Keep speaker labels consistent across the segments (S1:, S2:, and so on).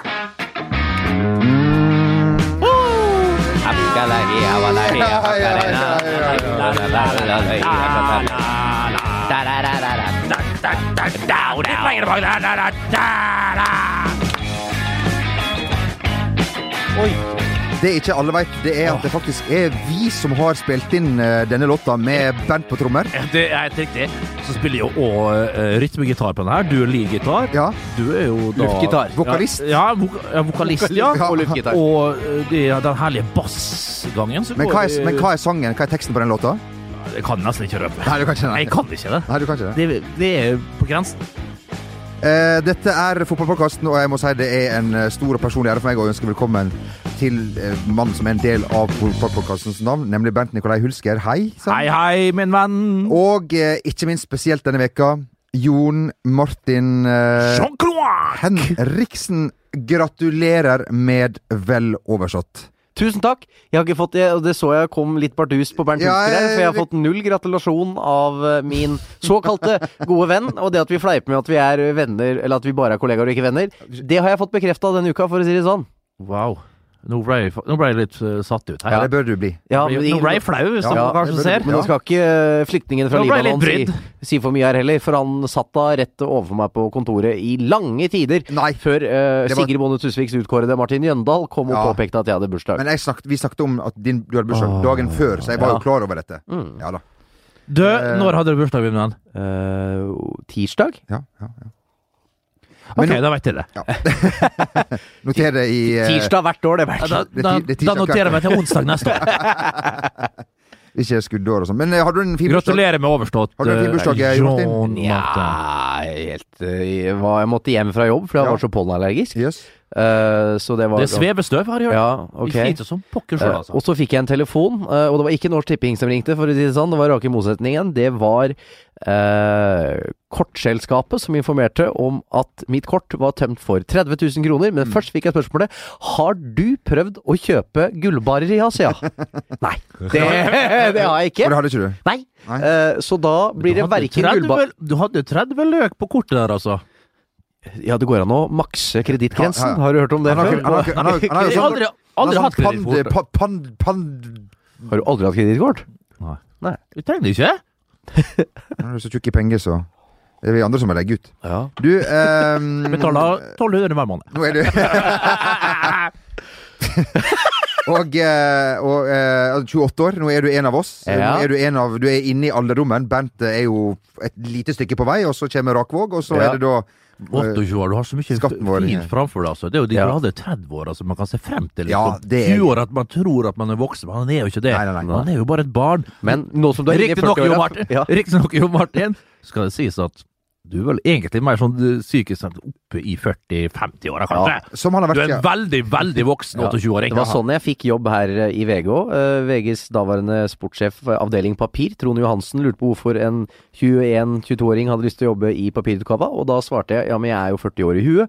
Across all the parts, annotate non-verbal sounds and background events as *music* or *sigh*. S1: *laughs* Det ikke alle veit, det er at det faktisk er vi som har spilt inn eh, denne låta med band på trommer.
S2: Det er helt riktig. Så spiller jo òg eh, rytmegitar på den her. Du er leadgitar.
S1: Ja.
S2: Du er jo da
S3: Luftgitar.
S1: Vokalist.
S2: Ja, ja, vok ja vokalist, ja.
S1: *laughs* Ja.
S3: Og luftgitar.
S2: Og eh, det er den herlige bassgangen som
S1: Men hva, er,
S2: går i-
S1: men hva er sangen? Hva er teksten på den låta?
S2: Jeg kan nesten ikke røpe.
S1: Nei, du kan ikke
S2: Jeg
S1: den.
S2: kan ikke det.
S1: Nei, du kan ikke det.
S2: Det, det er på grensen.
S1: Sånn. Eh, dette er fotballpodkasten, og jeg må si det er en eh, stor og personlig ære for meg å ønske velkommen til eh, mannen som er en del av fotballpodkastens navn, nemlig Bernt Nikolai Hulsker. Hei. sa han.
S2: Hei, hei, min venn.
S1: Og eh, ikke minst spesielt denne veka, Jon Martin eh,
S2: Jean-Claude!
S1: Henriksen. Gratulerer med vel oversatt.
S3: Tusen takk. Jeg har ikke fått det, og det så jeg kom litt bardus på Bernt
S1: Ja,
S3: Hulsker her, for jeg har
S1: vi-
S3: fått null gratulasjon av eh, min såkalte gode venn. Og det at vi fleiper med at vi er venner, eller at vi bare er kollegaer og ikke venner, det har jeg fått bekrefta denne uka, for å si det sånn.
S2: Wow. Nå ble jeg, nå ble jeg litt eh, satt ut her.
S1: Ja, det bør du bli.
S3: Ja,
S2: Nå ble- nå
S3: men-
S2: ble jeg flau, hvis
S1: Ja,
S2: noen
S1: det
S2: kanskje
S1: burde-
S2: ser.
S3: Men nå skal ikke eh, flyktningen fra
S2: Nå ble jeg
S3: Libanon si,
S2: litt
S3: si for mye her heller, for han satt da rett overfor meg på kontoret i lange tider.
S1: Nei.
S3: Før eh,
S1: Det var-
S3: Sigrid Bonde Tusviks utkårede Martin Jøndal kom og
S1: Ja.
S3: påpekte at jeg hadde bursdag.
S1: Men jeg snakket, vi snakket om at din, du hadde bursdag dagen før, så jeg var
S3: Ja.
S1: jo klar over dette. Ja da.
S2: Du, når hadde du bursdag, min venn?
S3: Eh, tirsdag?
S1: Ja, ja, ja.
S2: Ok,
S1: Men nå-
S2: da vet jeg det.
S1: Noter det i eh,
S3: Tirsdag hvert år, det
S2: Ja,
S3: hvert.
S2: Da,
S1: Det er ti- det
S2: da,
S1: er
S2: da
S1: tirsdag
S2: noterer jeg meg til onsdag neste år.
S1: Ikke skuddår og sånn. Men eh, hadde du en fin bursdag?
S2: Gratulerer med overstått.
S1: Har du en fin
S2: eh,
S1: bursdag, eh,
S2: John
S1: Martin?
S2: Martin.
S3: Nja, helt eh, Jeg var- jeg måtte hjem fra jobb, for jeg
S1: Ja.
S3: var så pollenallergisk.
S1: Yes.
S3: Eh, så det var
S2: Det er svevestøv her, gjør det.
S3: Ja, ok.
S2: Vi sliter som pokker sjøl,
S3: Eh,
S2: altså.
S3: Og så fikk jeg en telefon, eh, og det var ikke Norsk Tipping som ringte, for å si det sånn. Det var rake motsetningen. Det var eh, kortselskapet som informerte om at mitt kort var tømt for 30 000 kroner. Men først fikk jeg spørsmålet Har du prøvd å kjøpe gullbarer i Asia? Nei, det, det har
S1: Og
S3: jeg
S1: det
S3: ikke.
S1: hadde ikke du?
S3: Nei.
S1: Nei.
S3: Eh, så da
S2: Du
S3: blir det
S2: hadde
S3: verken
S2: 30
S3: gullbarer
S2: Du hadde 30 løk på kortet der, altså.
S3: Ja, det går an å makse
S1: Ja, ja,
S3: kredittgrensen.
S1: ja.
S3: Har du hørt om det
S1: Han har ikke-
S3: før?
S1: han har ikke- han har- han har jo
S2: Jeg har
S1: sånn
S2: aldri,
S1: Han
S2: aldri
S1: har
S2: hatt
S1: sånn pand...
S2: kredittkort.
S1: pa- pand, pand
S3: Har du aldri hatt kredittkort?
S2: Du trenger ikke.
S1: Han er jo så tjukk i penger, så Det er vi andre som må legge ut.
S3: Ja.
S1: Du ehm,
S2: Betaler 1200 hver måned.
S1: Nå er
S3: *laughs*
S1: du Og, eh, og eh, 28 år, nå er du en av oss.
S3: Ja.
S1: Nå er du, en av, du er inne i alderdommen. Bent er jo et lite stykke på vei, og så kommer Rakvåg, og så
S3: Ja.
S1: er det da
S2: 28 år, du har så mye
S1: Skatten vår, ja.
S2: fint framfor deg. Altså. Det er jo de
S3: Ja.
S2: du hadde 30 år, altså, man kan se frem til.
S1: Ja,
S2: Liksom.
S1: det er-
S2: 20 år at man tror at man er voksen, men han er jo ikke det.
S1: Nei, nei, nei.
S2: Han er jo bare et barn.
S3: Men nå som du er inne i
S2: Riktignok, Jo
S3: 40-åra-
S2: Martin,
S3: Ja.
S2: riktig nok, jo Martin, skal det sies at du er vel egentlig mer sånn eh, psykisk sett oppe i 40-50-åra, kanskje.
S1: Som han har
S2: Du
S1: vært
S2: er en veldig, veldig voksen
S3: Ja,
S2: 28-åring.
S3: Det var sånn jeg fikk jobb her eh, i VG òg. VGs daværende sportssjef for avdeling papir, Trond Johansen, lurte på hvorfor en 21-22-åring hadde lyst til å jobbe i papirutgava, og da svarte jeg ja, men jeg er jo 40 år i huet.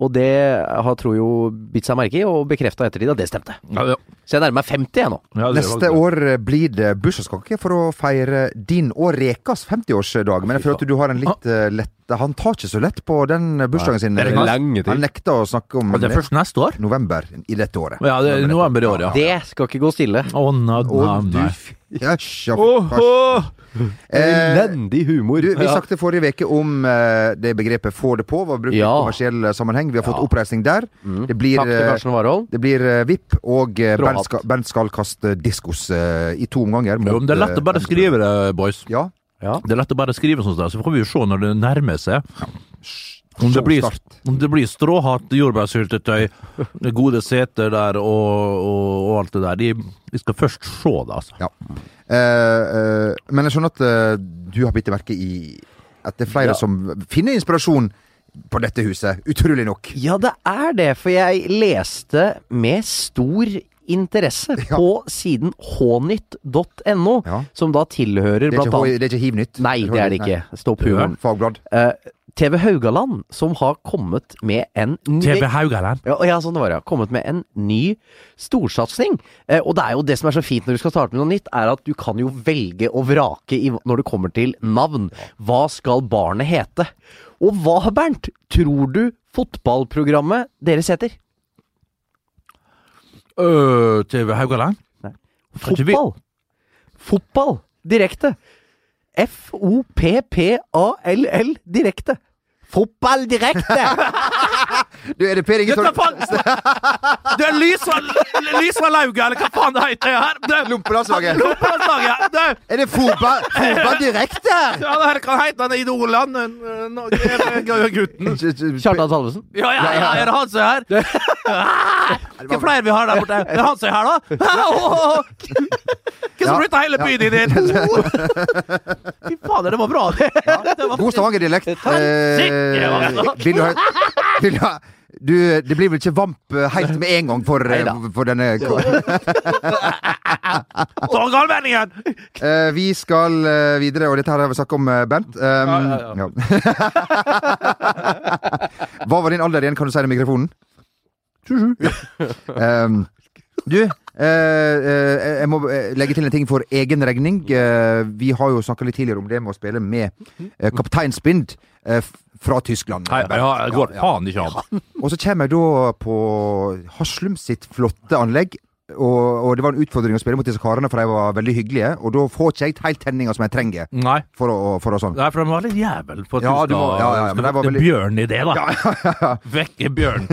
S3: Og det har Tro jo bitt seg merke i, og bekrefta ettertid at det stemte.
S2: Ja, ja.
S3: Så jeg nærmer meg 50 jeg nå.
S2: Ja, det
S1: Neste
S2: var-
S1: år blir det bursdagskake for å feire din og Rekas 50-årsdag. Men jeg føler at du har en litt eh, lett Han tar ikke så lett på den bursdagen sin.
S2: Det er
S1: Rekas.
S3: lenge til.
S1: Han nekta å snakke om
S2: Og Altså, Det er først neste år?
S1: november i dette året.
S2: Ja, det er november i år, ja.
S3: Det skal ikke gå stille.
S2: Å, nei, nei,
S1: Og du
S2: nei.
S1: f- ja, sja-
S2: Åhå!
S1: eh,
S3: Elendig humor.
S1: du, vi
S3: Ja.
S1: snakket forrige uke om eh, det begrepet 'få det på' var brukt i
S3: Ja. Mm.
S1: kommersiell eh, sammenheng. Vi har fått oppreisning der. Det blir,
S3: Takk til
S1: eh,
S3: Karsten Warholm.
S1: det blir eh, VIP, og eh,
S3: Bra
S1: Bernt
S3: hatt.
S1: skal, Bernt skal kaste diskos eh, i to omganger. eh,
S2: Jo, men det er lett å bare skrive det, boys.
S1: Ja.
S2: Det er lett å bare skrive sånn, så får vi jo se når det nærmer seg. Om det,
S1: Så
S2: blir,
S1: start.
S2: om det blir stråhatt, jordbærsyltetøy, gode seter der og, og, og alt det der. De, vi skal først se det, altså.
S1: Ja. Eh, eh, men jeg skjønner at eh, du har bitt deg merke i at det er flere
S3: Ja.
S1: som finner inspirasjon på dette huset. Utrolig nok.
S3: Ja, det er det, for jeg leste med stor interesse
S1: *laughs* Ja.
S3: på siden hnytt.no,
S1: Ja.
S3: som da tilhører
S1: Det er
S3: blant
S1: ikke, H-
S3: annet
S1: det er ikke Hivnytt.
S3: Nei, det er det
S1: Nei.
S3: ikke. Stopp humoren.
S1: Fagblad.
S3: Eh, TV Haugaland, som har kommet med en ny
S2: TV Haugaland.
S3: ja, ja, sånn det var, ja. Kommet med en ny storsatsing. Eh, og det er jo det som er så fint når du skal starte med noe nytt, er at du kan jo velge og vrake i, når det kommer til navn. Hva skal barnet hete? Og hva, Bernt, tror du fotballprogrammet deres heter?
S2: Øh, TV Haugaland? Kanskje vi-
S3: Fotball! Fotball! Direkte. F-O-P-P-A-L-L direkte. Fotball direkte!
S2: *laughs*
S1: Du, er det Per Inge Torp? *laughs*
S2: Det er Lysva Lauga, eller hva faen det heter her?
S1: Lompelandslaget.
S2: Lompelandslaget! Det er
S1: Er det fotball, fotball direkte?
S2: Ja, det her kan hete han Idolland, gutten.
S3: Kjartan Salvesen.
S2: Ja, ja, ja, er det han som er her? Ah, Hva flere vi har der borte? Er det han som er her, da? Hva som
S1: Ja.
S2: flytta hele byen inn hit? Fy fader, det var *laughs* bra, det. det var
S1: God Stavanger-dialekt. Eh, vil du ha vil du ha- du, det blir vel ikke Vamp eh, helt med en gang for, eh,
S3: Neida.
S1: for denne
S2: Torgallmenningen!
S1: *laughs* Eh, Vi skal eh, videre, og dette her har vi snakket om, eh, Bent. Um,
S2: Ja, ja,
S1: ja.
S2: ja.
S1: *laughs* Hva var din alder igjen, kan du si det i mikrofonen? *laughs* Um, du, eh, eh, jeg må eh, legge til en ting for egen regning. Eh, vi har jo snakka litt tidligere om det med å spille med eh, kaptein Spind eh, f- fra Tyskland.
S2: Nei,
S1: Bernt.
S2: ja, det går
S1: Ja, ja.
S2: faen ikke an.
S1: Og så kommer jeg da på Haslum sitt flotte anlegg. Og, og det var en utfordring å spille mot disse karene, for de var veldig hyggelige. Og da får ikke jeg helt tenninga som jeg trenger
S2: Nei.
S1: for å, for å sånn.
S2: Nei, for de var litt jævel på at
S1: Ja,
S2: du
S1: du
S2: skal
S1: må- ja, ja, ja, men
S2: skal
S1: det var
S2: vekte
S1: veldig-
S2: bjørn i det, da. Vekke bjørn.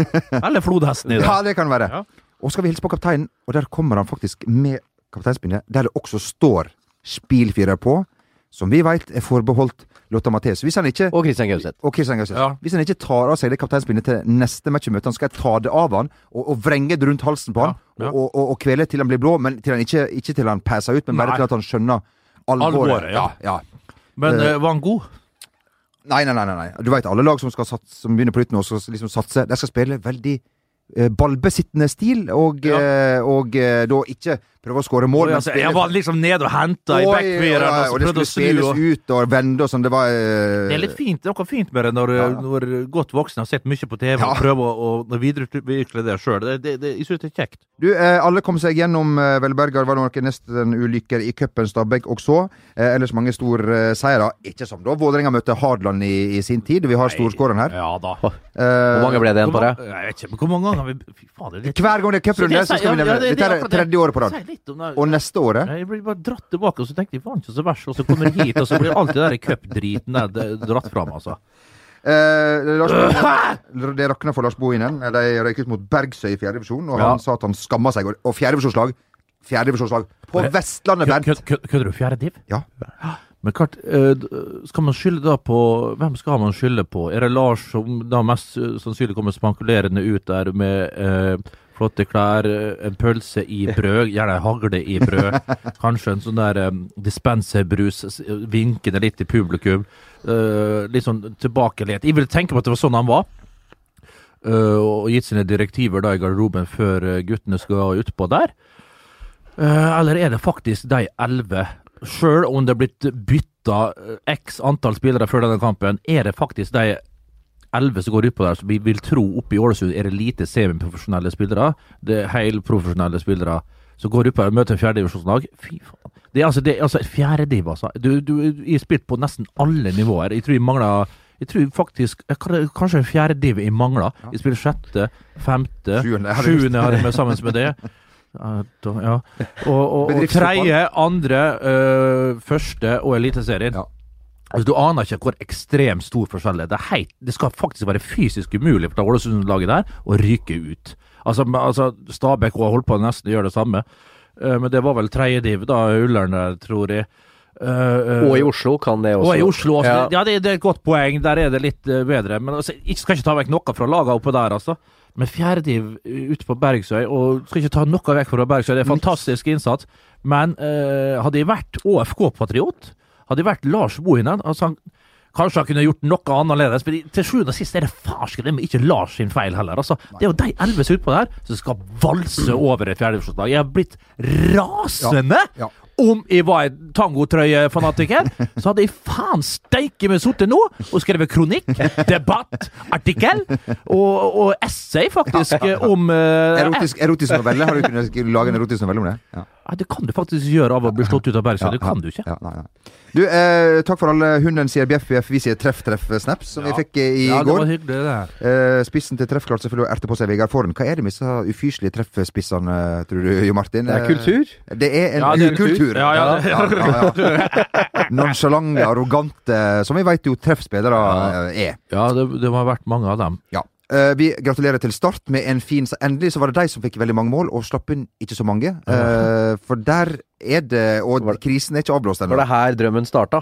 S2: Eller flodhesten i det.
S1: Ja, det kan være.
S2: Ja.
S1: Og så skal vi hilse på kapteinen, og der kommer han faktisk med kapteinspinnet, der det også står spilfyrer på, som vi veit er forbeholdt Lotta Mathes. Hvis han ikke
S3: Og Christian Gauseth.
S1: og Christian Gauseth.
S2: Ja.
S1: Hvis han ikke tar av seg det kapteinspinnet til neste match vi møter han, skal jeg ta det av han og, og vrenge det rundt halsen på han
S2: Ja, ja.
S1: Og, og, og kvele til han blir blå, men til han ikke, ikke til han passer ut, men bare
S2: Nei.
S1: til at han skjønner alvoret.
S2: Alvoret, ja.
S1: ja.
S2: Men eh, var han god?
S1: Nei, nei, nei, nei, nei. Du veit alle lag som, skal satse, som begynner på nytt nå, skal liksom satse. De skal spille veldig eh, ballbesittende stil, og,
S2: Ja.
S1: eh, og eh, da ikke prøve å skåre mål, men
S2: Altså, jeg var liksom nede og henta i
S1: Oi, oi,
S2: backfireren
S1: oi,
S2: og så
S1: og det
S2: prøvde
S1: skulle
S2: å snu.
S1: spilles
S2: Og...
S1: ut og vende og sånn. Det var eh,
S2: Det er litt fint, det er noe fint med det når, eh,
S1: Ja, ja.
S2: når godt voksne har sett mye på TV
S1: Ja.
S2: og prøver å, å videreutvikle det sjøl. Det, det, det, jeg synes det er kjekt.
S1: Du, eh, alle kom seg gjennom eh, velberga. Det var noen nesten ulykker i cupen Stabæk også. Eh, ellers mange store eh, seire. Ikke som da Vålerenga møtte Hardland i, i sin tid. Vi har storskåreren her. Eh,
S2: Ja da.
S3: Hvor mange ble det igjen på det?
S2: Jeg vet ikke, men hvor mange ganger har vi Fy faen, det er litt
S1: Hver gang det er cuprunde, så skal vi nevne det. Dette er tredje året på rad.
S2: Si litt om det.
S1: Og neste året
S2: Jeg blir bare dratt tilbake, og så tenkte jeg faen ikke så verst, og så kommer jeg hit, og så blir alt det der cupdriten der d- dratt fram, altså.
S1: eh, Lars *laughs* Bohinen, Det rakna for Lars Bohinen. Eh, De røyk ut mot Bergsøy i fjerde divisjon, og
S2: Ja.
S1: han sa at han skamma seg. Og- Og fjerdedivisjonslag fjerdedivisjonslag på
S2: Men-
S1: Vestlandet, Bernt!
S2: Kø- kø- kø- Kødder du? Fjerde div?
S1: Ja.
S2: Men klart, eh, d- skal man skylde da på Hvem skal man skylde på? Er det Lars som da mest eh, sannsynlig kommer spankulerende ut der med eh, flotte klær, eh, en pølse i brød, *laughs* gjerne en hagle i brød, kanskje en sånn der um, dispenserbrus s- vinkende litt til publikum. eh, litt sånn tilbakelent. Jeg vil tenke på at det var sånn han var. eh, og gitt sine direktiver da i garderoben før eh, guttene skal utpå der. Eh, Eller er det faktisk de elleve? Sjøl om det er blitt bytta eh, x antall spillere før denne kampen, er det faktisk de elleve som går utpå der, som vi vil tro oppe i Ålesund er det lite semiprofesjonelle spillere. Det er helprofesjonelle spillere som går utpå der og møter en fjerdedivisjonslag. Fy faen. Det er altså, det er altså fjerdediv, altså. Du, du, jeg har spilt på nesten alle nivåer. Jeg tror jeg mangler jeg tror faktisk eh, kan- Kanskje en fjerdediv jeg mangler. Jeg spiller sjette, femte,
S1: Sjuende, har jeg lyst til.
S2: sjuende har jeg med sammen med det. Ja, da- ja. Og, og, og
S1: Bedriftsfotball.
S2: tredje, andre, øh, første og Eliteserien.
S1: Ja.
S2: Altså, du aner ikke hvor ekstremt stor forskjell det er. Det, er helt, det skal faktisk være fysisk umulig for det Ålesund-laget der å ryke ut. Altså, men, altså Stabæk har holdt på å nesten gjøre det samme, Eh, men det var vel tredje div, da, Ullern, der, tror jeg. Eh, eh,
S3: Og i Oslo kan det også.
S2: og i Oslo også.
S3: Ja.
S2: Ja, det, det er et godt poeng. Der er det litt eh, bedre. Men altså, jeg skal ikke ta vekk noe fra laga oppe der, altså. Men fjerdediv ute på Bergsøy, og skal ikke ta noe vekk fra Bergsøy, det er fantastisk innsats. Men eh, hadde jeg vært ÅFK-patriot, hadde jeg vært Lars Bohinen altså han, Kanskje han kunne gjort noe annerledes, men i- til sjuende og sist er det farskelig det er ikke Lars sin feil heller. Altså, det er jo de elleve som er utpå der, som skal valse over et fjerdedivisjonslag. Jeg har blitt rasende!
S1: Ja, ja.
S2: Om jeg var en tangotrøyefanatiker, så hadde jeg faen steike meg sittet nå og skrevet kronikk, debatt, artikkel og, og essay, faktisk, om eh,
S1: Erotisk, erotisk novelle. Har du kunnet lage en erotisk novelle om det? Ja.
S2: eh, Det kan du faktisk gjøre av å bli slått ut av Bergsøy. Det kan du ikke.
S1: Ja, nei, nei. Du, eh, takk for alle. Hunden sier bjeff, bjeff. Vi sier treff, treff, snaps, som
S2: Ja.
S1: vi fikk eh, i
S2: Ja, det var
S1: går.
S2: hyggelig, det. der.
S1: Eh, spissen til treff klarte selvfølgelig å erte på seg Vegard Foren. Hva er det med disse ufyselige treffspissene, tror du, Jo Martin?
S3: Det er kultur.
S1: Eh, Det er en
S2: Ja, det er en
S1: ukultur. sur.
S2: Ja, ja, ja.
S1: ja, ja. Nonchalante, arrogante, som vi veit jo treffspillere eh, er.
S2: Ja, det, det må ha vært mange av dem.
S1: Ja. Eh, vi gratulerer til Start med en fin så Endelig så var det de som fikk veldig mange mål, og slapp inn ikke så mange. Eh, for der er det Og
S3: Var det-
S1: krisen er ikke avblåst
S3: Var
S1: ennå.
S3: det her drømmen starta?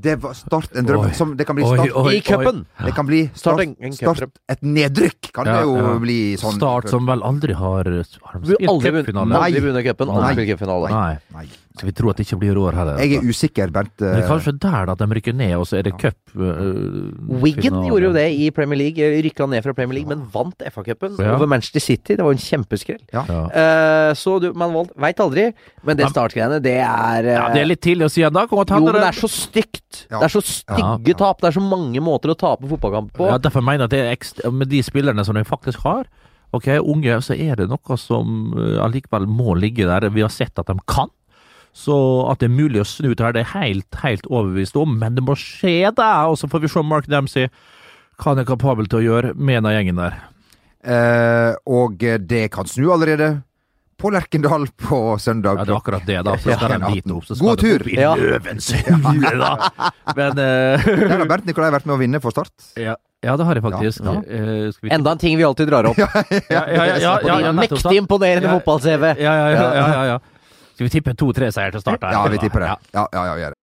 S1: Det var Start en drøm
S2: Oi.
S1: som Det kan bli
S2: Oi,
S1: Start.
S2: oi,
S3: I cupen!
S1: Det kan bli
S3: Start
S1: Start,
S3: en- en cupdrøm.
S1: start et nedrykk, kan
S2: Ja,
S1: det jo
S2: ja.
S1: bli
S2: oi.
S1: sånn.
S2: Start som vel aldri har, har
S3: Vi har aldri vunnet
S2: cupfinale.
S1: Nei.
S3: aldri vunnet cupen.
S1: Nei.
S3: Aldri spilt cupfinale.
S2: Nei.
S1: Nei.
S2: Så vi tror at det ikke blir i år heller.
S1: Jeg er usikker, Bernt.
S2: Men
S1: eh,
S2: kanskje der da, at de rykker ned, og så er det cup øh,
S3: Wiggen
S2: finale.
S3: gjorde jo det i Premier League, rykka ned fra Premier League, men vant FA-cupen
S2: Ja.
S3: over Manchester City. Det var jo en kjempeskrell.
S2: Ja.
S3: Eh, så du, man valgt, veit aldri, men det
S2: Ja.
S3: startgreiene, det er eh,
S2: ja, det er litt tidlig å si ennå. Kom og ta
S3: Jo, men det
S2: dere.
S3: er så stygt!
S1: Ja.
S3: Det er så stygge
S2: Ja,
S1: ja.
S3: tap. Det er så mange måter å tape fotballkamp på.
S2: Ja, derfor mener jeg at det er ekstra, med de spillerne som de faktisk har, ok, unge, så er det noe som eh, allikevel må ligge der. Vi har sett at de kan. Så at det er mulig å snu det her, det er helt, helt overbevist om, men det må skje, da! Og så får vi se om Mark Dempsey hva han er kapabel til å gjøre med den gjengen der.
S1: Eh, og eh, det kan snu allerede på Lerkendal på søndag.
S2: Ja, det er akkurat det, da. Så skal
S1: Ja.
S2: de dit opp. Så skal
S1: God
S2: de
S1: tur!
S2: opp i
S3: Ja.
S2: løvens hule, da! Men eh,
S1: Der har Bernt Nikolai vært med å vinne for Start.
S2: ja, *laughs* ja, det har jeg faktisk.
S1: Ja, ja.
S2: Eh, skal vi
S3: Enda en ting vi alltid drar opp.
S2: ja, ja, ja, ja, ja, ja, nettopp, sant?
S3: Mektig imponerende
S2: Ja.
S3: fotball-CV.
S2: Ja, ja, ja, ja, ja, ja. Skal vi tippe to-tre seier til start? her?
S1: Ja, vi tipper det.
S2: Ja.
S1: Ja, ja, ja, vi gjør det.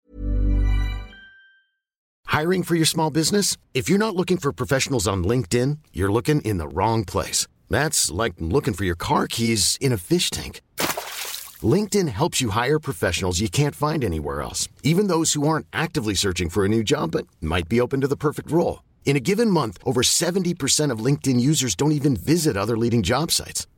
S4: Hiring for your small business? If you're not looking for professionals on LinkedIn, you're looking in the wrong place. That's like looking for your car keys in a fish tank. LinkedIn helps you hire professionals you can't find anywhere else, even those who aren't actively searching for a new job but might be open to the perfect role. In a given month, over 70% of LinkedIn users don't even visit other leading job sites.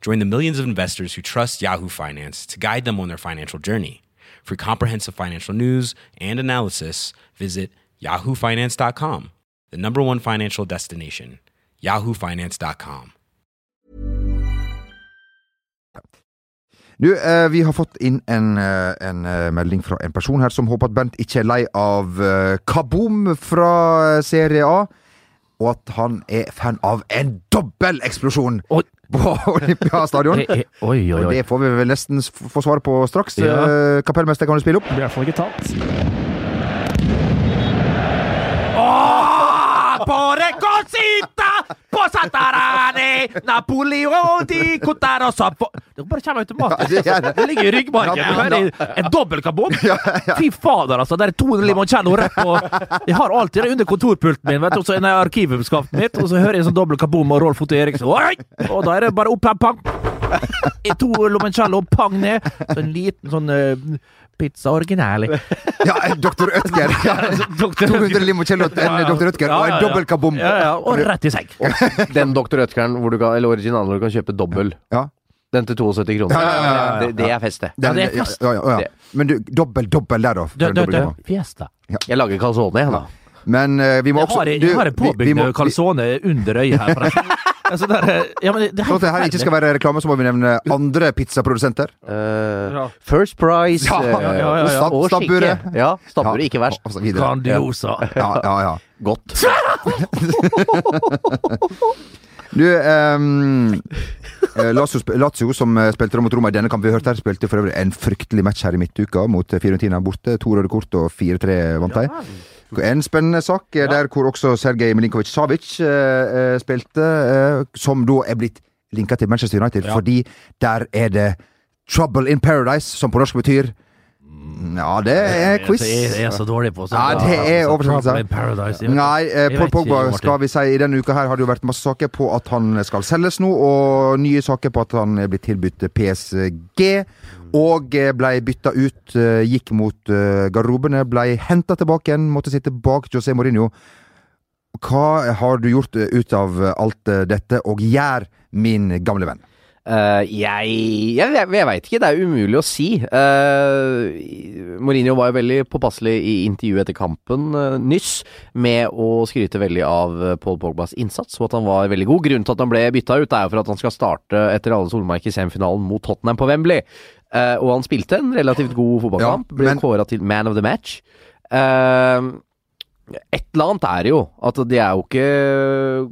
S5: Join the millions of investors who trust Yahoo Finance to guide them on their financial journey. For comprehensive financial news and analysis, visit yahoofinance.com the number one financial destination, yahoofinance.com.
S1: Du, eh, vi har fått inn en, eh, en eh, melding fra en person her som håper at Bernt ikke er lei av eh, Kaboom fra eh, Serie A, og at han er fan av en dobbel eksplosjon
S2: Oi.
S1: på *laughs* Olympiastadion.
S2: Eh, eh, Oi, oi,
S1: Og
S2: oi.
S1: det får vi vel nesten s- få svar på straks.
S2: Ja.
S1: Eh, Kapellmester, kan du spille opp?
S6: blir i hvert fall ikke tatt.
S2: Pore cosita på satarane Napoleon di cotaro sappo Det bare kommer automatisk.
S1: Ja, det gjør det.
S2: det ligger i ryggmargen.
S1: Ja,
S2: Her er En dobbel
S1: *laughs*
S2: kabom. Fy fader, altså. Der er 200 limoncello rett på Jeg har alltid det under kontorpulten min, vet du, og så er det i arkivskapet mitt, og så hører jeg en sånn dobbel kabom og Rolf Otto Eriksen. Oi! Og da er det bare opp her, pang! I to limoncello, pang ned. Så en liten sånn eh, pizza
S1: *laughs*
S2: originale.
S1: Ja, eh, Dr.
S2: *laughs*
S1: Ødger.
S2: Dr.
S1: 200 limoncello, en
S2: Ja, ja.
S1: Dr. Ødger og en dobbel kaboom.
S2: Ja, ja. Og rett i seng.
S3: Den Dr. Rødtkeren hvor du kan, eller originalen hvor du kan kjøpe dobbel.
S1: Ja.
S3: Den til 72 kroner.
S1: Ja, ja, ja, ja, ja.
S3: Det, det er festet.
S1: Den,
S2: det
S1: ja,
S2: er
S1: ja,
S2: fast.
S1: ja, ja, ja. Men du, dobbel, dobbel der, da. for
S2: Dø,
S1: en
S2: dø,
S1: dobbel
S2: dø.
S1: kaboom.
S2: Fiesta.
S3: Jeg lager calzone, jeg, da.
S1: Men eh, vi må
S2: Jeg
S1: også
S2: har,
S1: du,
S2: jeg har en
S1: vi- vi må-
S2: påbyggende
S1: vi-
S2: calzone under øyet her, forresten.
S1: *laughs*
S2: altså, der, er- ja, men det, det er
S1: For at det her ikke skal være reklame, så må vi nevne andre pizzaprodusenter.
S3: Eh, First Price
S1: Ja, ja, ja,
S2: ja, ja.
S3: eh, og- og
S1: Stabburet.
S3: skinke. Ja, stabburet, ikke verst.
S1: Og så videre.
S2: Grandiosa.
S1: Ja, ja, ja.
S3: Godt.
S1: Du, ehm, eh, Lazio, sp- Lazio, som eh, spilte da mot Roma i denne kampen vi hørte her, spilte for øvrig en fryktelig match her i midtuka mot eh, Fiorentina borte. To røde kort og 4-3 vant de. En spennende sak eh, der hvor også Sergej Milinkovic-Savic eh, eh, spilte, eh, som da er blitt linka til Manchester United,
S5: Ja.
S1: fordi der er det 'Trouble in Paradise', som på norsk betyr Ja, det er Eh, quiz.
S2: Eh, altså, Jeg er så dårlig på
S1: Ja, det er overraskelse.
S2: Trouble in Paradise, jeg vet
S1: Nei, eh,
S2: Jeg
S1: Paul
S2: vet ikke,
S1: Pogba
S2: Martin.
S1: skal vi si i denne uka her har det jo vært masse saker på at han skal selges nå, og nye saker på at han er blitt tilbudt PSG. Og eh, ble bytta ut, eh, gikk mot eh, garderobene, ble henta tilbake igjen, måtte sitte bak José Mourinho. Hva har du gjort eh, ut av eh, alt eh, dette, og gjør, min gamle venn?
S3: Eh, jeg jeg, jeg, jeg veit ikke, det er umulig å si. Eh, Mourinho var jo veldig påpasselig i intervjuet etter kampen eh, nyss med å skryte veldig av eh, Paul Pogbas innsats, og at han var veldig god. Grunnen til at han ble bytta ut, er jo for at han skal starte etter alle solmerker i semifinalen mot Tottenham på Wembley. Eh, og han spilte en relativt god fotballkamp,
S1: Ja,
S3: ble
S1: men-
S3: kåra til man of the match. Eh, et eller annet er det jo. At de er jo ikke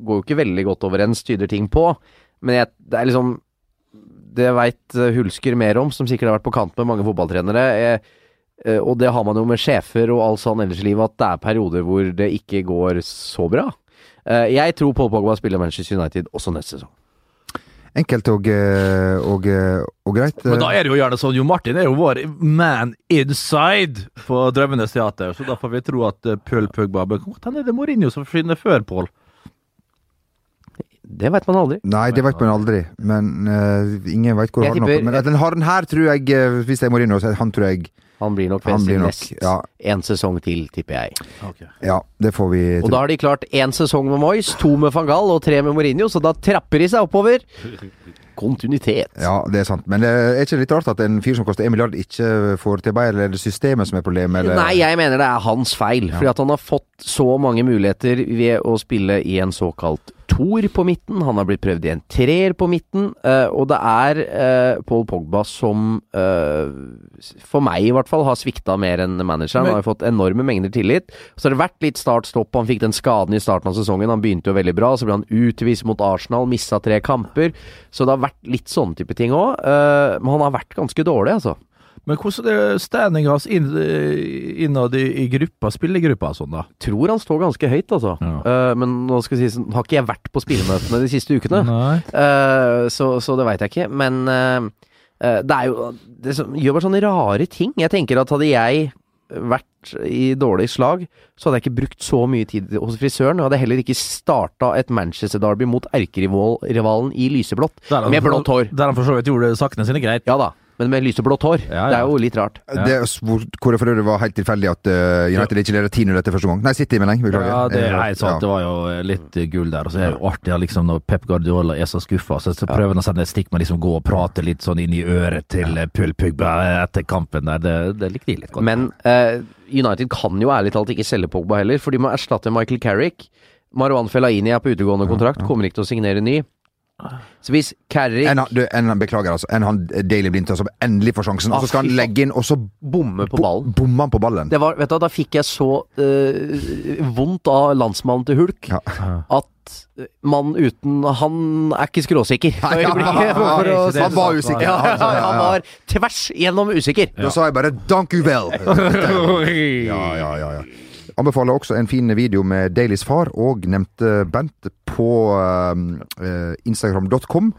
S3: Går jo ikke veldig godt overens, tyder ting på. Men jeg, det er liksom Det jeg veit Hulsker mer om, som sikkert har vært på kant med mange fotballtrenere eh, eh, Og det har man jo med sjefer og alt sånn ellers i livet, at det er perioder hvor det ikke går så bra. Eh, Jeg tror Paul Pogba spiller Manchester United også neste sesong.
S1: Enkelt og, eh, og, eh, og greit.
S2: Men da er det jo gjerne sånn, Jo Martin er jo vår man inside på Drømmenes teater, så da får vi tro at eh, Pøl Pøgba Men Hvor er det Mourinho som forsvinner før Pål?
S3: Det veit man aldri.
S1: Nei, det vet man aldri, men eh, ingen veit hvor
S3: Jeg
S1: har den
S3: tipper-
S1: oppe. Men at den har den her, tror jeg, eh, hvis det er Mourinho, så han tror jeg
S3: Han blir nok
S1: Han
S3: best
S1: blir nok,
S3: nest
S1: ja.
S3: en sesong til, tipper jeg.
S1: Ja, det får vi
S3: Og da har de klart én sesong med Moyes, to med van Gaal og tre med Mourinho, så da trapper de seg oppover. Kontinuitet.
S1: Ja, det er sant. Men det er ikke litt rart at en fyr som koster 1 milliard, ikke får til Bayer, eller er det systemet som er problemet? Eller?
S3: Nei, jeg mener det er hans feil. Fordi at han har fått så mange muligheter ved å spille i en såkalt toer på midten. Han har blitt prøvd i en treer på midten. eh, og det er eh, Paul Pogba som, eh, for meg i hvert fall, har svikta mer enn manageren. Han har jo fått enorme mengder tillit. Så har det vært litt start-stopp. Han fikk den skaden i starten av sesongen. Han begynte jo veldig bra, så ble han utvist mot Arsenal, mista tre kamper. Så det har vært litt sånne type ting òg. men han har vært ganske dårlig, altså.
S2: Men hvordan er standinga hans inn, eh, innad i, i gruppa, spillergruppa og sånn, da?
S3: tror han står ganske høyt, altså.
S2: Ja.
S3: Eh, men nå skal jeg si, sånn, har ikke jeg vært på spillemøtene de siste ukene,
S2: Nei.
S3: Eh, så, så det veit jeg ikke. Men eh, eh, det er jo Det som gjør bare sånne rare ting. Jeg tenker at hadde jeg vært i dårlig slag, så hadde jeg ikke brukt så mye tid hos frisøren. Og hadde heller ikke starta et Manchester Derby mot erkerivalen i lyseblått.
S2: Der han
S3: Med
S2: for-
S3: blått hår.
S2: Der han for så vidt gjorde sakene sine greit.
S3: Ja da, men med lyseblått hår.
S2: Ja, ja.
S3: Det er jo litt rart.
S1: Det er s- hvor, hvor det for øvrig var helt tilfeldig at eh, United ikke leder 10-0 etter første gang. Nei, City, mener jeg. Beklager.
S2: Ja, det,
S1: Eh,
S2: nei, sant, det
S1: ja.
S2: var jo eh, litt eh, gull der. Og så er det jo artig ja, liksom, når Pep Guardiola er så skuffa, så, så prøver han å sende et stikk med liksom gå og prate litt sånn inn i øret til eh, Pøl Pugba etter kampen der. Det, det likte de litt godt.
S3: Men eh, United kan jo ærlig talt ikke selge Pogba heller, for de må erstatte Michael Carrick. Marwan Fellaini er på utegående kontrakt, kommer ikke til å signere ny. Så hvis Carrick
S1: En, han- du, en, han- beklager, altså. En han Daily Blinter som endelig får sjansen, og
S3: Ah,
S1: så skal
S3: fy
S1: han
S3: faen.
S1: legge inn, og så
S3: bommer på
S1: bo-
S3: ballen
S1: bommer han på ballen.
S3: det var, vet du, hva, Da fikk jeg så eh, vondt av landsmannen til Hulk
S1: *laughs* Ja.
S3: at eh, mann uten Han er ikke skråsikker.
S1: Nei,
S3: *laughs* i
S1: ja,
S3: øyeblikket, for å si det
S1: han var
S3: sånn.
S1: usikker.
S3: Ja, ja,
S1: Altså,
S3: ja, han var tvers igjennom usikker.
S1: Da sa jeg bare 'dank u
S2: *laughs*
S1: vel'. Ja, ja, ja, ja. Anbefaler også en fin video med Dailys far og nevnte Bent på ehm, eh, instagram.com.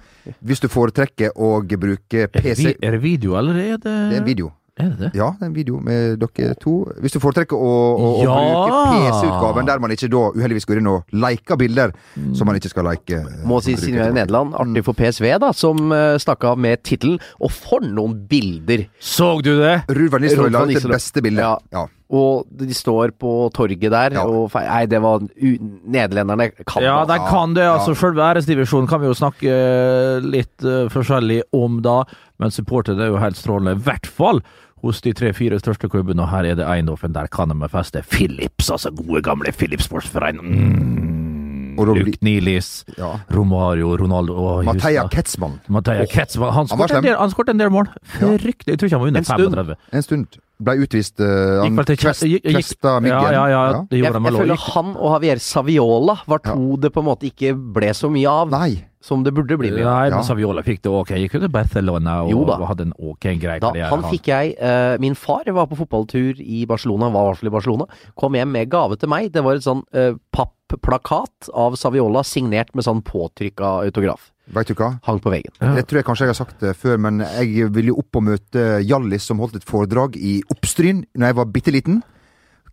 S1: Hvis du foretrekker å bruke
S2: er, det vi,
S1: PC
S2: er det video, eller er det
S1: Det er en video.
S2: Er det det?
S1: Ja, det er en video med dere to. Hvis du foretrekker å, å, å
S2: Ja!
S1: bruke PC-utgaven, der man ikke da uheldigvis går inn og liker bilder som man ikke skal like. eh,
S3: Må si
S1: som bruker
S3: Sinjøen
S1: tilbake.
S3: Nederland. Artig for PSV, da, som eh, stakk av med tittelen. Og for noen bilder!
S2: Så du det?
S1: Ruud van Nistelrooy
S3: Ruud van
S1: la ut det
S3: Nistelrooy.
S1: beste bildet.
S3: Ja.
S1: Ja.
S3: Og de står på torget der
S1: Ja.
S3: og fe- Nei, det var u Nederlenderne kan
S2: Ja,
S3: det.
S2: de kan det. altså Selve æresdivisjonen kan vi jo snakke eh, litt eh, forskjellig om, da. Men supporterne er jo helt strålende. I hvert fall hos de tre-fire største klubbene, og her er det Eindhoven. Der kan de feste Philips, altså gode, gamle Philips Sportsforening. Mm.
S1: Og da blir-
S2: Luke Nilis,
S1: Ja.
S2: Romario, Ronaldo og
S1: Matheia Ketzmann
S2: Matheia Ketz. Han
S1: Han var
S2: skåret en,
S1: slem.
S2: del- han skåret en del mål. Fryktelig. Jeg tror ikke han var
S3: En
S2: under
S3: stund.
S2: 35.
S1: en stund. ble utvist eh, han
S2: Gikk vel til
S1: kvest,
S2: gikk- gikk-
S1: Kvesta myggen.
S2: Ja, ja, ja, det
S3: Jeg,
S2: gjorde de
S3: jeg
S2: vel
S3: føler
S2: også.
S3: han og Javier Saviola var to det på en måte ikke ble så mye av,
S1: Nei.
S3: som det burde bli mye av.
S2: Nei,
S1: Ja.
S2: men Saviola fikk det ok. Gikk jo til Barcelona og,
S3: Jo da.
S2: og hadde en ok grei
S3: Da,
S2: karriere.
S3: han fikk jeg eh, Min far var på fotballtur i Barcelona, var i hvert fall i Barcelona. Kom hjem med gave til meg. Det var et sånn eh, pappplakat av Saviola signert med sånn påtrykka autograf.
S1: Veit du hva?
S3: Hang på veggen.
S1: Det tror jeg kanskje jeg har sagt det før, men jeg ville jo opp og møte Hjallis, som holdt et foredrag i Oppstryn Når jeg var bitte liten.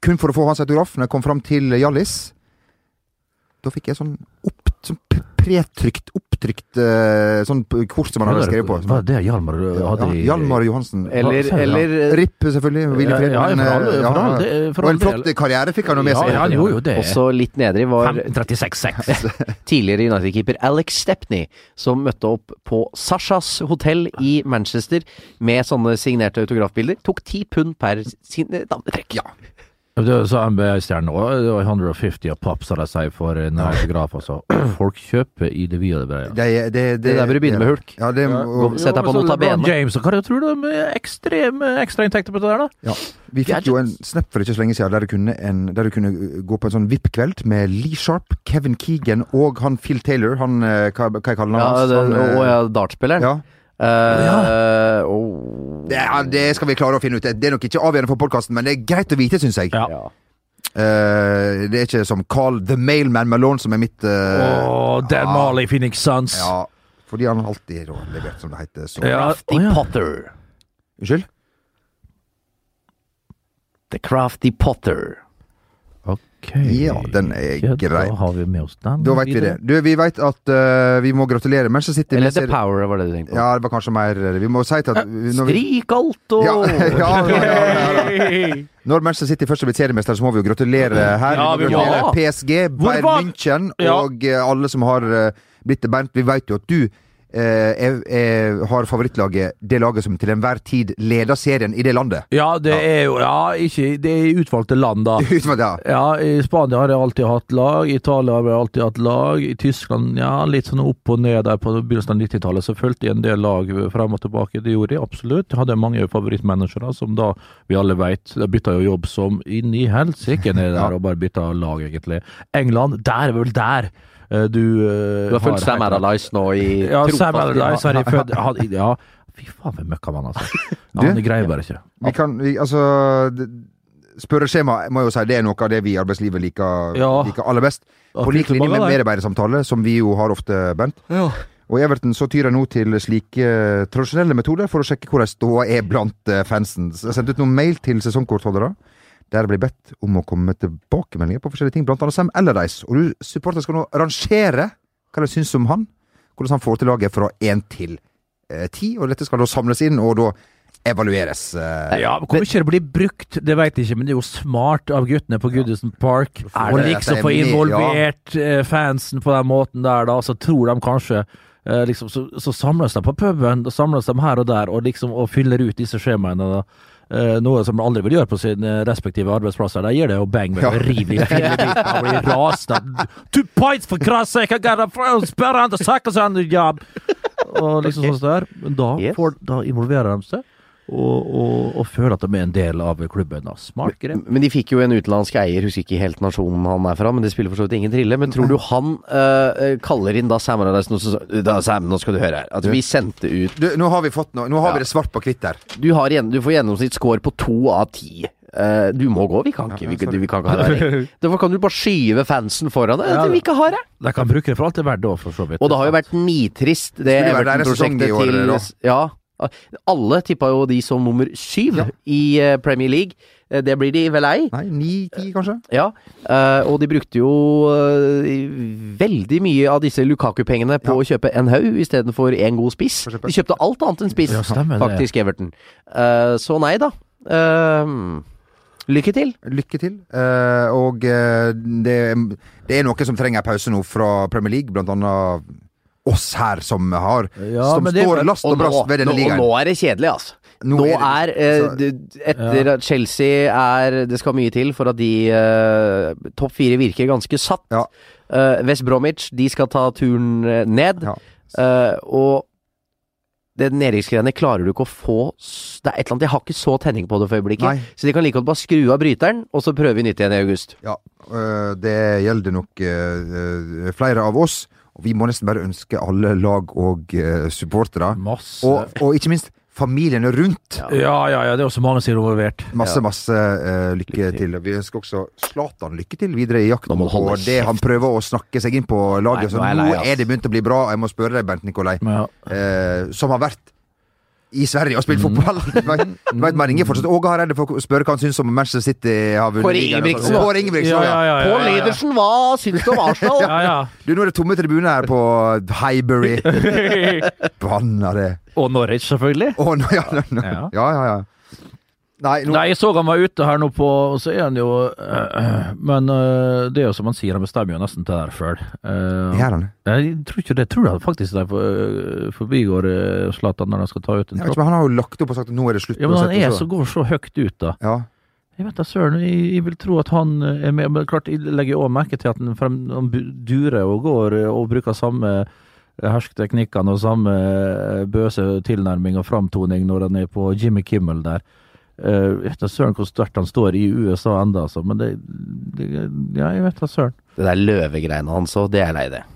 S1: Kun for å få hans autograf. Når jeg kom fram til Hjallis, da fikk jeg sånn, opp, sånn p- pretrykt, opptrykt eh, sånn p- kort som han hadde skrevet på.
S2: Var det det Hjalmar eh, hadde
S1: Ja,
S2: i
S1: Hjalmar Johansen.
S3: Eller,
S2: Ja.
S3: eller eh,
S1: Ripp, selvfølgelig. og Willy
S2: Ja,
S1: Fred.
S2: ja, for
S1: men,
S2: all-
S1: eh,
S2: for
S1: ja,
S2: all- det- for
S1: og
S2: all
S1: en flott
S2: del.
S1: karriere fikk han jo med
S2: Ja,
S1: seg.
S2: ja, han gjorde jo det.
S3: også litt nedrig var
S1: *laughs*
S2: 536.
S3: tidligere United-keeper Alex Stepney, som møtte opp på Sashas hotell i Manchester med sånne signerte autografbilder. Tok ti pund per sin eh, navnetrekk.
S2: Det sa MBA-stjernen òg. Det var 150 av papp, sa de sier, for en autograf. Altså. *clears throat* Folk kjøper i det vide og det
S1: Det,
S2: brede.
S1: det, det,
S3: Det der bør du begynne med hulk.
S1: Ja, det, og,
S3: Sett deg på
S2: Ja, men så
S3: notabene.
S2: LeBron James, og hva er det, tror du med ekstreme ekstrainntekter på det der, da?
S1: ja. Vi fikk jo en snap for ikke så lenge siden der du kunne, en, der du kunne gå på en sånn VIP-kveld med Lee Sharp, Kevin Keegan og han Phil Taylor. Han, eh, hva, hva jeg kaller
S3: Ja,
S1: han?
S3: det,
S1: han, eh,
S3: og ja, dartspilleren.
S1: ja.
S3: Eh, oh, og-
S1: Det, ja, det skal vi klare å finne ut. Det er nok ikke avgjørende for podkasten, men det er greit å vite, syns jeg.
S2: Ja.
S3: ja.
S1: Eh, det er ikke som Carl The Mailman Malone som er mitt eh,
S2: Åh, Dan Marley, Phoenix Suns.
S1: Ja, fordi han alltid har levert, som det heter. Så.
S3: Crafty
S2: Ah, Å, ja.
S3: Potter.
S1: Unnskyld?
S3: The Crafty Potter.
S2: Ok.
S1: Ja, den er
S2: Ja,
S1: grei.
S2: Da har vi med oss den.
S1: Da veit vi det.
S2: videre.
S1: Du, vi veit at eh, vi må gratulere Manchester City
S3: Eller
S1: med
S3: The
S1: seri-
S3: Power, var det du tenkte på.
S1: Ja, det var kanskje mer Vi må si til at når vi,
S3: Strik alt og
S1: ja, *laughs* ja, ja, ja, ja, ja. Når Manchester City først har blitt seriemester, så må vi jo gratulere her.
S2: Ja,
S1: vi
S2: vi
S1: må
S2: må.
S1: gratulere PSG,
S2: Hvor
S1: Bayern
S2: var-
S1: München
S2: Ja.
S1: og eh, alle som har eh, blitt det. Bernt, vi veit jo at du eh, er, er, har favorittlaget, det laget som til enhver tid leder serien i det landet. *laughs*
S2: Ja, det er jo Ja, ikke Det er i utvalgte land,
S3: *laughs*
S2: da.
S1: Ut med det, ja.
S2: Ja, i Spania har jeg alltid hatt lag, i Italia har jeg alltid hatt lag, i Tyskland ja, litt sånn opp og ned der på begynnelsen av 90-tallet. Så fulgte jeg en del lag frem og tilbake, det gjorde jeg absolutt. Jeg hadde mange favorittmanagere som da, vi alle vet, da bytta jo jobb som inn i helsike ned der og bare bytta lag, egentlig. England, der er vel der eh, du eh,
S3: *laughs* Du har fulgt Sam
S2: heter-
S3: Allardyce nå i
S2: Ja,
S3: trofast-
S2: Sam Allardyce har jeg født han- Ja, fy faen, hvem møkka man,
S3: *laughs*
S2: altså. Han greier bare ikke.
S1: Vi kan vi, Altså det- Spørreskjema må jeg jo si det er noe av det vi i arbeidslivet liker,
S2: Ja.
S1: liker aller best.
S2: Ja,
S1: På lik
S2: fint
S1: linje
S2: mange
S1: med
S2: der.
S1: medarbeidersamtale, som vi jo har ofte, Bent.
S2: Ja.
S1: Og i Everton så tyr jeg nå til slike eh, tradisjonelle metoder for å sjekke hvordan ståa er blant eh, fansen. Så Jeg sendte ut noen mail til sesongkortholdere der jeg ble bedt om å komme med tilbakemeldinger på forskjellige ting, blant annet Sam Allardyce. Og du supporter skal nå rangere hva de syns om han, hvordan han får til laget fra én til eh, ti, og dette skal da samles inn og da evalueres. eh,
S2: Ja, Hvor mye det blir brukt, det veit jeg ikke, men det er jo smart av guttene på Goodison Park å
S1: det
S2: liksom
S1: at
S2: få
S1: de er med,
S2: involvert eh, fansen på den måten der, da. Så tror de kanskje eh, liksom, så, så samles de på puben, og samles de her og der, og liksom og fyller ut disse skjemaene. da Eh, noe som de aldri vil gjøre på sine respektive arbeidsplasser. Der gir det jo bang med
S1: Ja.
S2: å rive i fillebiter og bli rasende. Two points for Christ's sake! I gotta spare him to sack us on the job! Og liksom sånn der. Men da,
S3: Yes.
S2: får, da involverer de seg, og, og, og føler at de er en del av klubben. Da. Smart grep.
S3: Men de fikk jo en utenlandsk eier, husker ikke helt nasjonen han er fra, men det spiller for så vidt ingen trille. Men tror du han eh, kaller inn da Sam Allardyce nå, så- da, Sam, nå skal du høre her. At vi sendte ut
S1: Du, nå har vi fått noe. Nå har vi det svart på hvitt der.
S3: Du, har igjen, du får gjennomsnittsscore på to av ti. Eh, du må gå, vi kan ikke. Vi, kan- vi kan ikke ha
S1: *laughs*
S3: deg her. Derfor kan du bare skyve fansen foran deg. Dette vil vi ikke ha her.
S2: De kan bruke det for alt det er verdt, da, for så vidt.
S3: Og det har jo vært nitrist, det
S1: Skulle vært deres
S3: Everton-prosjektet
S1: sesong i år,
S3: til Ja. Alle tippa jo de som nummer syv i eh, Premier League. Eh, Det blir de vel ei.
S1: Nei, ni-ti, kanskje?
S3: Ja, eh, og de brukte jo eh, veldig mye av disse Lukaku-pengene på å kjøpe en haug istedenfor en god spiss.
S1: For eksempel.
S3: De kjøpte alt annet enn spiss,
S2: Ja, stemmer det.
S3: faktisk, Everton. Eh, så nei da. Eh, lykke til.
S1: Lykke til. Eh, og eh, det, det er noen som trenger en pause nå fra Premier League, blant annet oss her som har
S2: Ja,
S1: Som
S2: men det er
S1: står
S2: for-
S1: last og
S3: Og nå,
S1: brast ved
S3: nå,
S1: denne
S3: og
S1: ligaen.
S3: nå er det kjedelig, altså.
S1: Nå
S3: Nå,
S1: er altså-
S3: er, eh, du- Etter at Chelsea er Det skal mye til for at de eh, Topp fire virker ganske satt.
S1: Ja.
S3: Eh, West Bromwich, de skal ta turen eh, ned.
S1: Ja.
S3: Eh, og det nedrykksgreiene klarer du ikke å få s- Det er et eller annet Jeg har ikke så tenning på det for øyeblikket.
S1: Nei.
S3: Så de kan like godt bare skru av bryteren, og så prøver vi nytt igjen i august.
S1: Ja, øh, det gjelder nok øh, øh, flere av oss. Og vi må nesten bare ønske alle lag og øh, supportere,
S2: Masse.
S1: og, og ikke minst familiene rundt,
S2: ja, ja, ja, det er også mange som er involvert.
S1: masse, masse øh, lykke til. Vi ønsker også Zlatan lykke til videre i jakten
S3: Nå må du
S1: på
S3: holde
S1: det han prøver å snakke seg inn på
S3: Nei,
S1: laget. Så
S3: nå er jeg
S1: nå
S3: lei, ass.
S1: er det begynt å bli bra. Jeg må spørre deg, Bernt Nikolai,
S2: Ja.
S1: eh, som har vært i Sverige og spilt fotball. *laughs* Du vet, du vet, man ringer fortsatt Åge Hareide for å spørre hva han syns om Manchester City har vunnet.
S3: Kåre
S1: ligaen. sånn.
S3: Ingebrigtsen, da.
S1: Kåre Ingebrigtsen, ja.
S2: ja, ja,
S3: sånn, Pål
S2: ja, ja.
S3: Edersen, hva syns du om Arsenal?
S2: Ja, ja.
S1: Du, nå er det tomme tribuner her på Highbury.
S3: *laughs*
S1: Banna det.
S2: *laughs* Og Norwich, selvfølgelig.
S1: Å, nå, ja, nå, nå.
S2: Ja.
S1: ja, ja, ja. Nei, nå
S2: Nei, jeg så han var ute her nå på og Så er han jo *clears throat* øh, øh, Men øh, det er jo som han sier, han bestemmer jo nesten til det her sjøl.
S1: gjør han det.
S2: jeg tror ikke det. Tror jeg faktisk det er for, øh, forbigår øh, Zlatan når han skal ta ut en
S1: Jeg vet ikke,
S2: tropp.
S1: men han har jo lagt opp og sagt at nå er det slutt.
S2: Ja, men han
S1: uansett,
S2: er
S1: og så-
S2: så går så høyt ut, da.
S1: ja.
S2: Jeg vet da søren, jeg, jeg vil tro at han eh, er med, men klart jeg legger òg merke til at han, frem, han bu- durer og går eh, og bruker samme eh, hersketeknikkene og samme eh, bøse tilnærming og framtoning når han er på Jimmy Kimmel der. Eh, Jeg vet da søren hvor sterkt han står i USA enda, altså, men det, det Ja, jeg vet da søren.
S3: Det der løvegreiene hans òg, det er jeg lei det.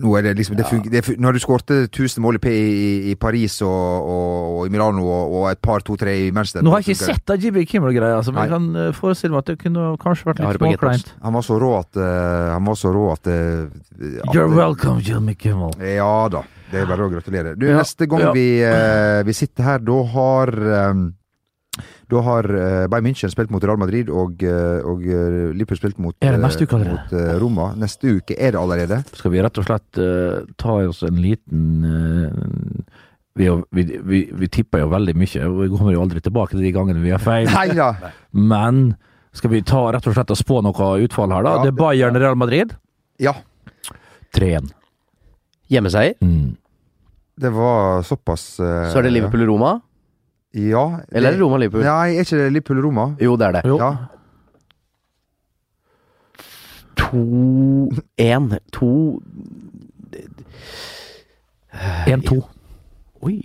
S1: Nå er det liksom det fung- det fun- Når du skårte 1000 mål i, P- i, i Paris og, og, og i Milano og, og et par, to-tre i Manchester
S2: Nå har jeg ikke
S1: funker det.
S2: sett den Jimmy Kimmel-greia, altså, men
S1: Nei.
S2: jeg kan eh, forestille meg at det kunne kanskje vært
S3: Jeg har
S2: litt
S3: det på
S2: småkleint.
S1: Han var så rå at eh, Han var så rå at, eh, at
S2: You're welcome, Jimmy Kimmel.
S1: Ja da. Det er bare å gratulere. Du,
S2: Ja,
S1: neste gang
S2: ja.
S1: vi, eh, vi sitter her, da har ehm, da har eh, Bayern München spilt mot Real Madrid, og, eh, og eh, Liverpool spilt mot,
S2: Er
S1: eh,
S2: det neste uke allerede?
S1: mot eh, Roma. Neste uke er det allerede.
S2: Skal vi rett og slett eh, ta oss en liten eh, vi, er jo- vi, vi, vi tipper jo veldig mye, og vi kommer jo aldri tilbake til de gangene vi har feil.
S1: Nei da!
S2: Men skal vi ta rett og slett og spå noe utfall her, da?
S1: Ja,
S2: det er Bayern Real Madrid.
S1: Ja,
S2: 3-1.
S3: Hjemmeseier,
S2: Mm.
S1: det var såpass eh,
S3: så er det Liverpool-Roma.
S1: Ja.
S3: Eller er det Roma-Liverpool?
S1: Nei, er ikke det Liverpool-Roma?
S3: Jo, det er det.
S2: Jo.
S1: Ja.
S3: 2-1. 2
S2: 1-2.
S3: Oi.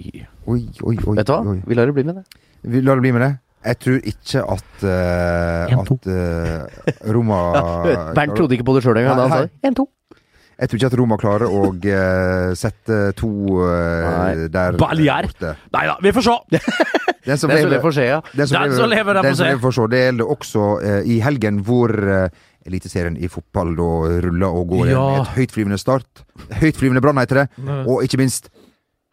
S1: Oi, oi, oi.
S3: Vet du hva?
S1: oi.
S3: Vi lar det bli med det.
S1: Vi lar det bli med det. Jeg tror ikke at eh,
S2: En, to.
S1: at eh, Roma
S3: *laughs* Bernt trodde ikke på det sjøl engang da han sa det. 1-2.
S1: Jeg tror ikke at Roma klarer å eh, sette to eh,
S3: Nei.
S1: der
S2: Baljer.
S1: borte.
S2: Nei da, vi får se!
S1: Den som
S3: Det er så det
S1: lever,
S3: får skje, ja.
S1: den som
S2: Den
S1: lever,
S2: som lever, den får
S1: den som
S2: se.
S1: lever får se. Det gjelder også eh, i helgen, hvor eh, Eliteserien i fotball da ruller og går
S2: Ja.
S1: med et høytflyvende start. Høytflyvende brann, heter det. Og ikke minst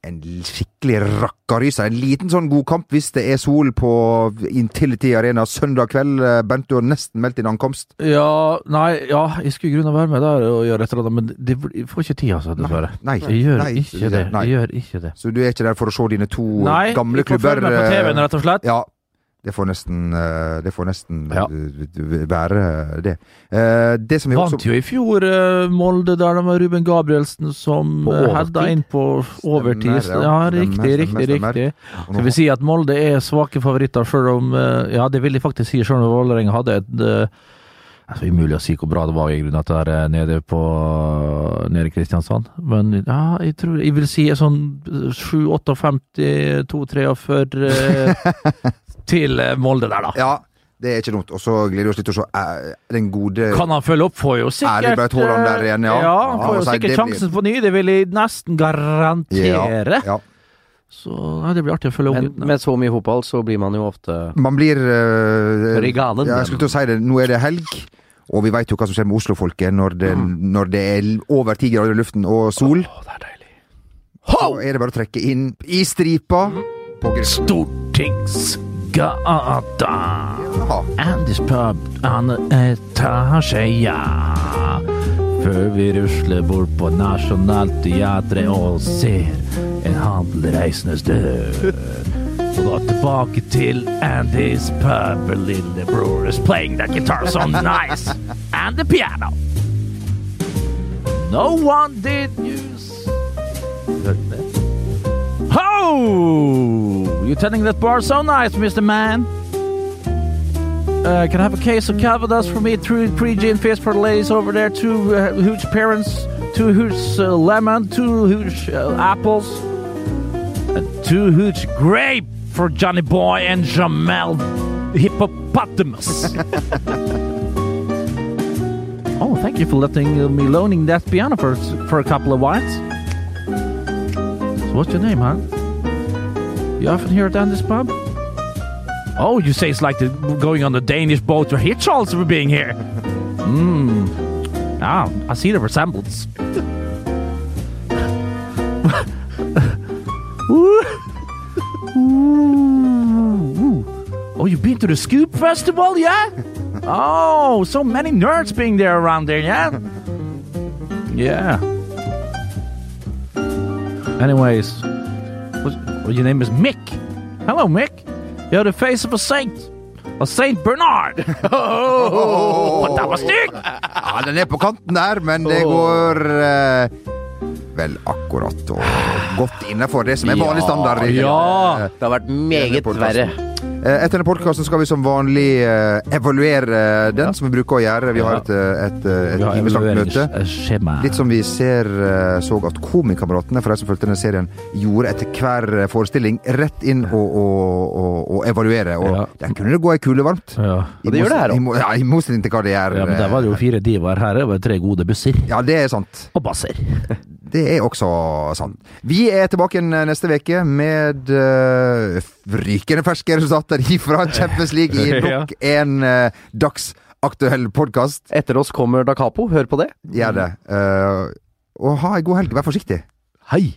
S1: en skikkelig rakkaryser. En liten sånn god kamp hvis det er sol på Intility Arena søndag kveld. Eh, Bent, du har nesten meldt din ankomst.
S2: Ja, nei, ja, jeg skulle i grunnen være med der og gjøre et eller annet, men det, jeg får ikke tid, altså, dessverre.
S1: Nei.
S2: Jeg gjør
S1: Nei,
S2: ikke det.
S1: nei.
S2: Jeg gjør ikke det.
S1: Så du er ikke der for å se dine to
S2: Nei,
S1: gamle
S2: vi får
S1: klubber.
S2: følge med på
S1: eh,
S2: TV-en, rett og slett.
S1: Ja. Det får nesten, eh, det får nesten
S2: Ja.
S1: eh, være det. Eh, Det som vi også
S2: Vant jo i fjor eh, Molde, der det var Ruben Gabrielsen som
S3: På
S2: hedda
S3: overtid.
S2: inn på overtid.
S1: Stemmer, ja.
S2: Ja, riktig,
S1: Stemmer,
S2: riktig,
S1: stemmer,
S2: riktig.
S1: Og nå-
S2: Skal vi si at Molde er svake favoritter, sjøl om eh, Ja, det vil jeg faktisk si, sjøl om Vålerenga hadde et eh, altså, Umulig å si hvor bra det var i grunnen at det er eh, nede på eh, nede i Kristiansand, men ja, jeg tror Jeg vil si sånn 7-58-52-43 eh,
S1: *laughs*
S2: til eh, Molde der, da.
S1: Ja, det er ikke dumt. Og så gleder vi oss litt til å se eh, den gode
S2: Kan han følge opp? Får jo sikkert eh,
S1: Erling Braut Haaland der igjen, ja.
S2: han
S1: Ja,
S2: får jo
S1: altså, det
S2: sikkert
S1: blir-
S2: sjansen på ny, det vil jeg nesten garantere.
S1: Ja.
S2: Så ja, det blir artig å følge opp
S3: Men
S2: guttene.
S3: med så mye fotball så blir man jo ofte
S1: Man blir eh,
S3: Tørr i ganen.
S1: Ja, jeg skulle til å si det. Nå er det helg. Og vi veit jo hva som skjer med Oslo-folket når, det-
S2: Mm.
S1: når det er over ti grader i luften og sol.
S2: Å, det er deilig.
S1: Så er det bare å trekke inn i stripa. På grunn.
S2: Stortingsgata.
S1: Ja.
S2: Andys pub, annen etasje, ja. Før vi rusler bort på Nationaltheatret og ser en handlereisendes død. Og da tilbake til Andys pub, where lillebror is playing that guitar so nice. And the piano. No one did use... Hørte det? Ho! You're turning that bar so nice, Mr. Man. Uh, can I have a case of Calvados for me? Three three gin fizz for the ladies over there. Two uh, huge parents, two huge uh, lemon, two huge uh, apples. Too huge grape for Johnny Boy and Jamel Hippopotamus. oh, thank you for letting me loaning that piano for, for a couple of whiles. So what's your name, huh? You often hear it down this pub? Oh, you say it's like the, going on the Danish boat to Hitchhals for being here. Mmm. Ah, I see the resemblance. Ooh. Ooh. Oh, you've been to the Scoop Festival, yeah? Oh, so many nerds being there around there, yeah? Yeah. Anyways, what's, well, your name is Mick. Hello, Mick. You're the face of a saint. A Saint Bernard. oh, that was sick.
S1: Ja, den er på kanten der, men det går eh, vel akkurat og godt innafor det som er vanlig standard. i-
S2: ja.
S3: Det har vært meget verre.
S1: Eh, Etter denne podkasten skal vi som vanlig eh, evaluere eh, den, som vi bruker å gjøre. Vi har
S2: Ja.
S1: et, eh, et, eh, et
S2: Vi har
S1: timeslangt møte.
S2: evalueringsskjema.
S1: Litt som vi ser, eh, så at Komikameratene, for de som fulgte denne serien, gjorde etter hver eh, forestilling rett inn og, og, og, og evaluere. Og
S2: Ja.
S1: der kunne det gå ei kule varmt.
S2: Ja.
S1: I
S3: Og det gjør det her
S1: motsetning- i mo- Ja, I motsetning til hva det gjør.
S2: ja, men der var det jo fire divaer. Her er det tre gode busser.
S1: Ja, det er sant.
S2: Og basser.
S1: Det er også sant. Vi er tilbake igjen eh, neste uke med eh, rykende ferske resultater ifra Champions League
S2: *laughs*
S1: i nok en eh, dagsaktuell podkast.
S3: Etter oss kommer Da Capo. Hør på det.
S1: Gjør det. Eh, og ha ei god helg. Vær forsiktig.
S3: Hei!